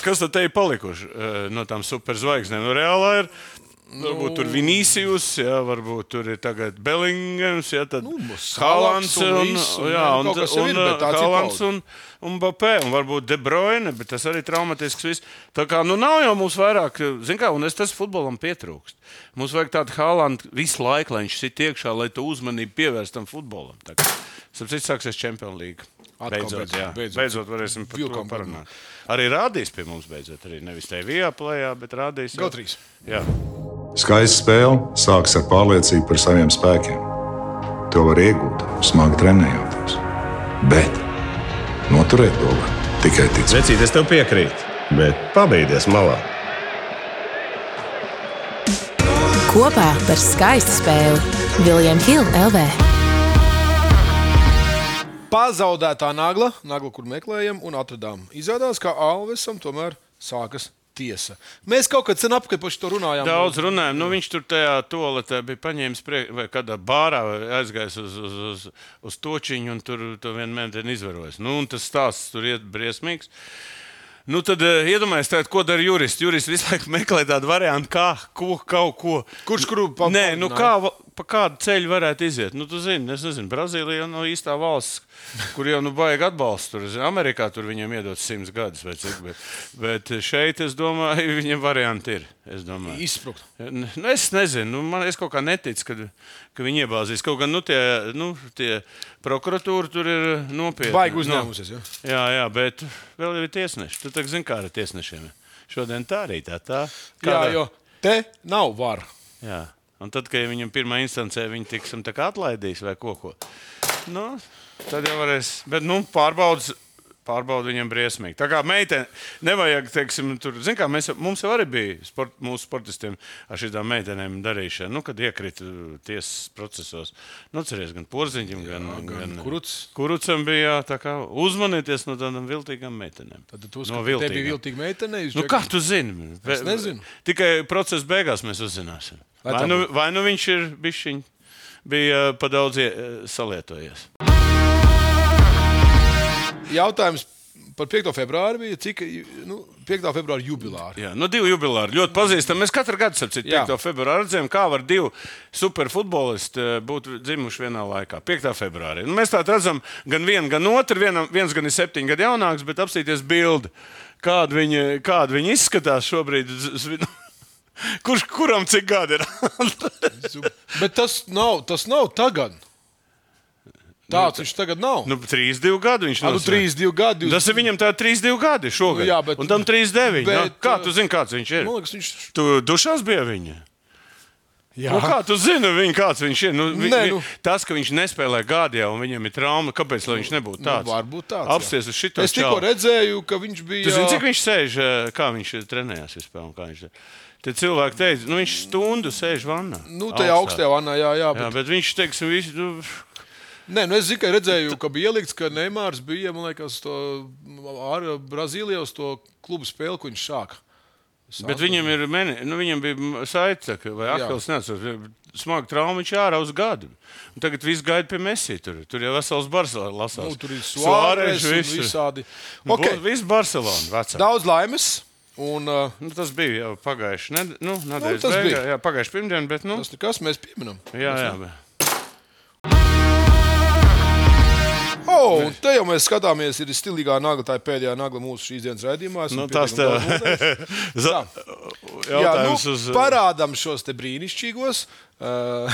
Kas tad te ir palikuši eh, no tām superzvaigznēm? Nu, reālā ir Nu, Varbūt tur ir Vinīsijus, jā, varbūt tur ir tagad Bellingams, jā, tad Nu, Salaks Haalands un un, viss, un jā, jā, un, kaut kas jau un, ir, bet tāds ir Haalands paudze. un, un Bapē, un varbūt De Bruyne, bet tas arī traumatisks viss. Tā kā, nu, nav jau mums vairāk, zin kā, un es tas futbolam pietrūkst. Mums vajag tādu Haalandu visu laiku, lai viņš sit iekšā, lai tu uzmanību pievērstam futbolam. Tā kā, sapcīt, sāksies Champions League. Atkal Beidzot, beidzot, jā, beidzot. beidzot, beidzot varēsim par to Vilkam parunāt. Arī rādīs pie mums beidzot, arī nevis tajā vieplējā, bet rādīs. jau. Gautrīs. Jā. Skaista spēle sākas ar pārliecību par saviem spēkiem. To var iegūt, smagi trenējoties. Bet noturēt to var tikai ticēt. Vecīt, es tev piekrītu, bet pabeigties malā. Kopā par skaistu spēli Viljams Hilde LV. Pazaudētā nagla, nagla, kur meklējam un atradām. Izrādās, ka Alvesam tomēr sākas tiesa. Mēs kaut kad sen apkārt par to runājām. Daudz runājām. Nu, viņš tur tajā toaletē bija paņēmis, prie, vai kādā bārā vai aizgājis uz, uz, uz, uz točiņu, un tur to vienmēr izvarojas. Nu, un tas stāsts tur ir briesmīgs. Nu, tad uh, iedomājieties, ko dara jurists. Jurists visu laiku meklē tādu variantu, kā, ko, kaut ko. Kurš kuru pa- Nē, nu pamudināja? kā, va- pa kādu ceļu varētu iziet? Nu, tu zini, es nezinu, Brazīlija jau nav īstā valsts, kur jau nu baigi atbalstu. Tur, zini, Amerikā tur viņam iedod simts gadus vai cik. Bet, bet šeit, es domāju, viņam varianti ir. Es domāju. Izsprukt. Nu, es nezinu, nu, man, es kaut kā neticu, ka, ka viņi iebāzīs. Kaut gan nu, tie, nu, tie prokuratūra tur ir nopietna. Baigi uzņēmusies. Ja? Jā, jā, bet vēl jau ir tiesneši. Tu tā zini, kā ar tiesnešiem. Šodien tā arī tā. tā. Jā, Kādā- jo te nav varu. jā. Un tad, kad viņam pirmā instancē viņi tiksim, tā kā atlaidīs vai ko ko. Nu, tad jau varēs. Bet nu, pārbaudas. Pārbaudu viņam briesmīgi. Tā kā meitene, nevajag, teiksim, tur, zin kā mēs, jau- mums jau arī bija sport, mūsu sportistiem ar šīm meitenēm darīšana, nu, kad iekrita uh, tiesas procesos. Nu, cerēsim, gan porziņam, gan, gan, gan Kuruc. kurucam bija jā, tā kā uzmanieties no tādām viltīgām meitenēm. Tad tu uzskati, ka te bija viltīga meitene. Nu, kā tu zini? Es nezinu. Tikai procesa beigās mēs uzzināsim. Vai Vai tā nu, būtu? vai nu viņš ir bišķiņ, bija eh, pa daudz ie- salietojies? Jautājums par 5. februāru bija, cik nu, 5. februāra jubilāri. Jā, no divu jubileāru ļoti pazīstami. Mēs katru gadu, ap cik Jā. 5. februārā redzējām, kā var divi superfutbolisti eh, būt dzimuši vienā laikā, 5. februārī. Nu, mēs tā redzam, gan vienu, gan otru. Vienam, viens gan ir septiņi gadi jaunāks, bet apsīties bildi, kāda viņi, kāda viņi izskatās šobrīd. Z- z- Kurš kuram cik gadi ir? Bet tas nav, tas nav tagad. Tāds viņš tagad nav. nu, 3-2 gadi viņš Ar nu, nosēž. 3, 2 gadi. Tas ir viņam tā 3-2 gadi šogad. Nu, jā, bet- un tam 3-9. bet, jā. Kā uh, tu zini, kāds viņš ir? Man liekas, viņš Tu dušās bija viņa. Jā. Nu, kā tu zini, viņu, kāds viņš ir? Nu, Nē, vi, Nē, nu. nu. vi, tas, ka viņš nespēlē gādā un viņam ir trauma, kāpēc lai viņš nebūtu tāds? Nu, varbūt tāds. Apsties uz šito. Es tikko čalu. redzēju, ka viņš bija. Tu zini, cik viņš sēž, eh, kā viņš eh, trenējās vispār un kā viņš ir. Tie cilvēki teica, nu, viņš stundu sēž vannā. Nu, tajā augstajā vanā, jā, jā. Jā, Bet... bet viņš, teiksim, visu, nu, Nē, nu es tikai redzēju, ka bija ielikts, ka Neimārs bija, man liekas, to ar Brazīliju uz to klubu spēli, ko viņš sāka. Bet viņam ir meni, nu, viņam bija m- saitaka vai akls, neatceros. Smaga trauma viņš ārā uz gadu. Un tagad viss gaida pie Messi. Tur, tur jau vesels Barcelona lasās. Nu, tur ir suārēs, viss. visādi. Okay. Okay. Viss Barcelona vecā. Daudz laimes. Un, uh, Nu, tas bija jau pagājuši ned nu, nedēļas tas beigā, bija. jā, pagājuši pirmdien, bet nu, tas nekas, mēs pieminam. jā, jā, bet. Oh, un te jau mēs skatāmies, ir stilīgā nagla, tā ir pēdējā nagla mūsu šīs dienas raidījumā. Esam Nu, tas tev pietiekami daudz noteikti. Za- Jā, jautājums nu, uz parādām šos te brīnišķīgos. Uh,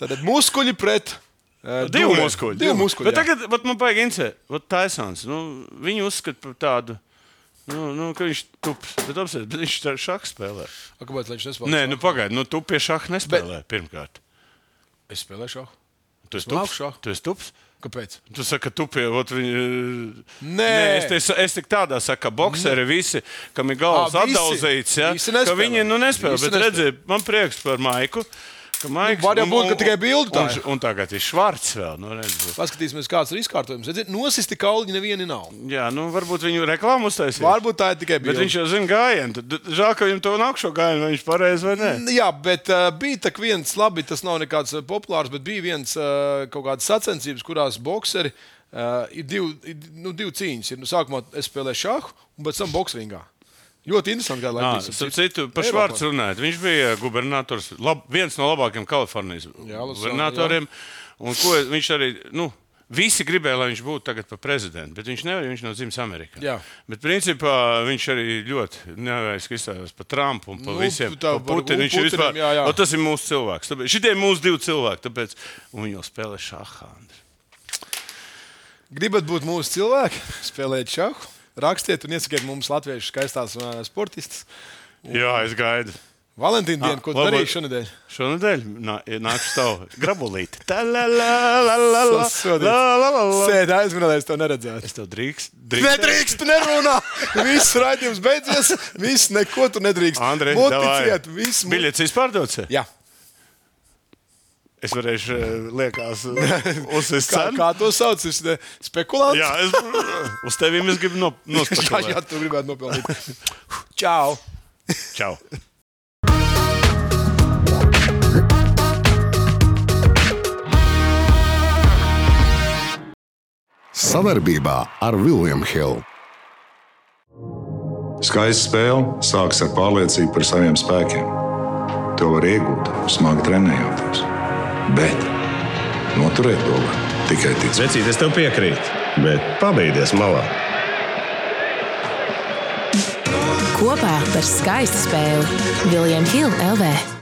Tad muskuļi pret uh, Divu dūrēm. muskuļu. Divu muskuļu. Bet tagad vat, man patīk Inse. Taisāns. Nu, viņu uzskata par tādu. Nu, nu, ka viņš tups. Bet, apsiet, bet viņš tā šādu spēlē. A, kāpēc lai viņš nespēlē? Nē, nu pagaidi. Nu, tu pie šāda nespēlē bet... pirmkārt. es spēlēju šādu. Tu esi Māku tups. šahu. Tu esi tups. Kāpēc? Tu saki, ka tu pie ot, viņa. Nē. es, te, es tik tādā saku, ka boxeri visi, kam ir galvas Ā, visi. atdauzīts, ja, Visi ka nespēlē. viņi nu, nespēlē. Nu, Visi Bet nespēlē. redziet, man prieks par Maiku. ka Maiks, var jau un- būt, ka un- tikai bildi tā Un, ir. un tagad ir švārds vēl. Nu, redz. Paskatīsimies, kāds ir izkārtojums. Redziet, Nosisti kauliņi nevieni nav. Jā, nu, varbūt viņu reklāmu uztaisīs. Varbūt tā ir tikai Bet bilde. viņš jau zina gājienu. Tad d- Žēl, ka viņam to nākšo gājienu, vai viņš pareizi vai nē. Jā, bet uh, bija tā viens, labi, tas nav nekāds uh, populārs, bet bija viens uh, kaut kādas sacensības, kurās boxeri uh, ir divi, ir, nu, divi cīņas. Ir, nu, sākumā es spēlēju šāhu, un pēc tam boxingā. Ļoti interesanti, kāda Nā, starp citu, par Švārdu runājot. Viņš bija gubernators, lab, viens no labākajiem Kalifornijas Jā, Los- gubernatoriem. Un ko viņš arī. Nu, Visi gribēja, lai viņš būtu tagad par prezidentu, bet viņš nevarēja. Viņš nav dzimis Amerikā. Jā. Bet, principā, viņš arī ļoti neveiksmīgi izsakojās par Trumpu un par Nu, visiem. tā par Putinu. varbūt Viņš ir Putinam, vispār. jā, jā. "O, Tas ir mūsu cilvēks. Tāpēc, šitie ir mūsu divi cilvēki. Tāpēc, un viņi jau spēlē šāhā. Andri. Gribat būt mūsu cilvēki, spēlēt šāhu, rakstiet un iesakiet mums latviešu skaistās uh, sportistas. Jā, es gaidu. Valentīna diena, ko tu labi. darīji šonadēļ? Šonadēļ nā- nāks stāv grabulīte. Tā la la la la la Sasodīts. la la la la. Sēdi aizmirst, es to neredzēju. Es tev drīkst. drīkst- Nedrīkst, nerunā. Viss raidījums beidzies. Viss, neko tu nedrīkst. Andrej, Muticiet, viss mu- Biļets izpārdots. Jā, Es varēšu eh, liekās eh, uzsist kā, cenu. kā to sauc? Es eh, ne- Spekulants. Jā, es, uz tevīm es gribu no, jā, jā, nospēlēt. tu gribētu nopelnīt. Čau! Čau. Savarbībā ar William Hill. Skaista spēle sākas ar pārliecību par saviem spēkiem. To var iegūt, smagi trenējoties. Bet noturēt to var tikai ticēt. Vecīt, es tev piekrītu, bet pabeigties malā. Kopā par skaistu spēli Viljams Hilde LV.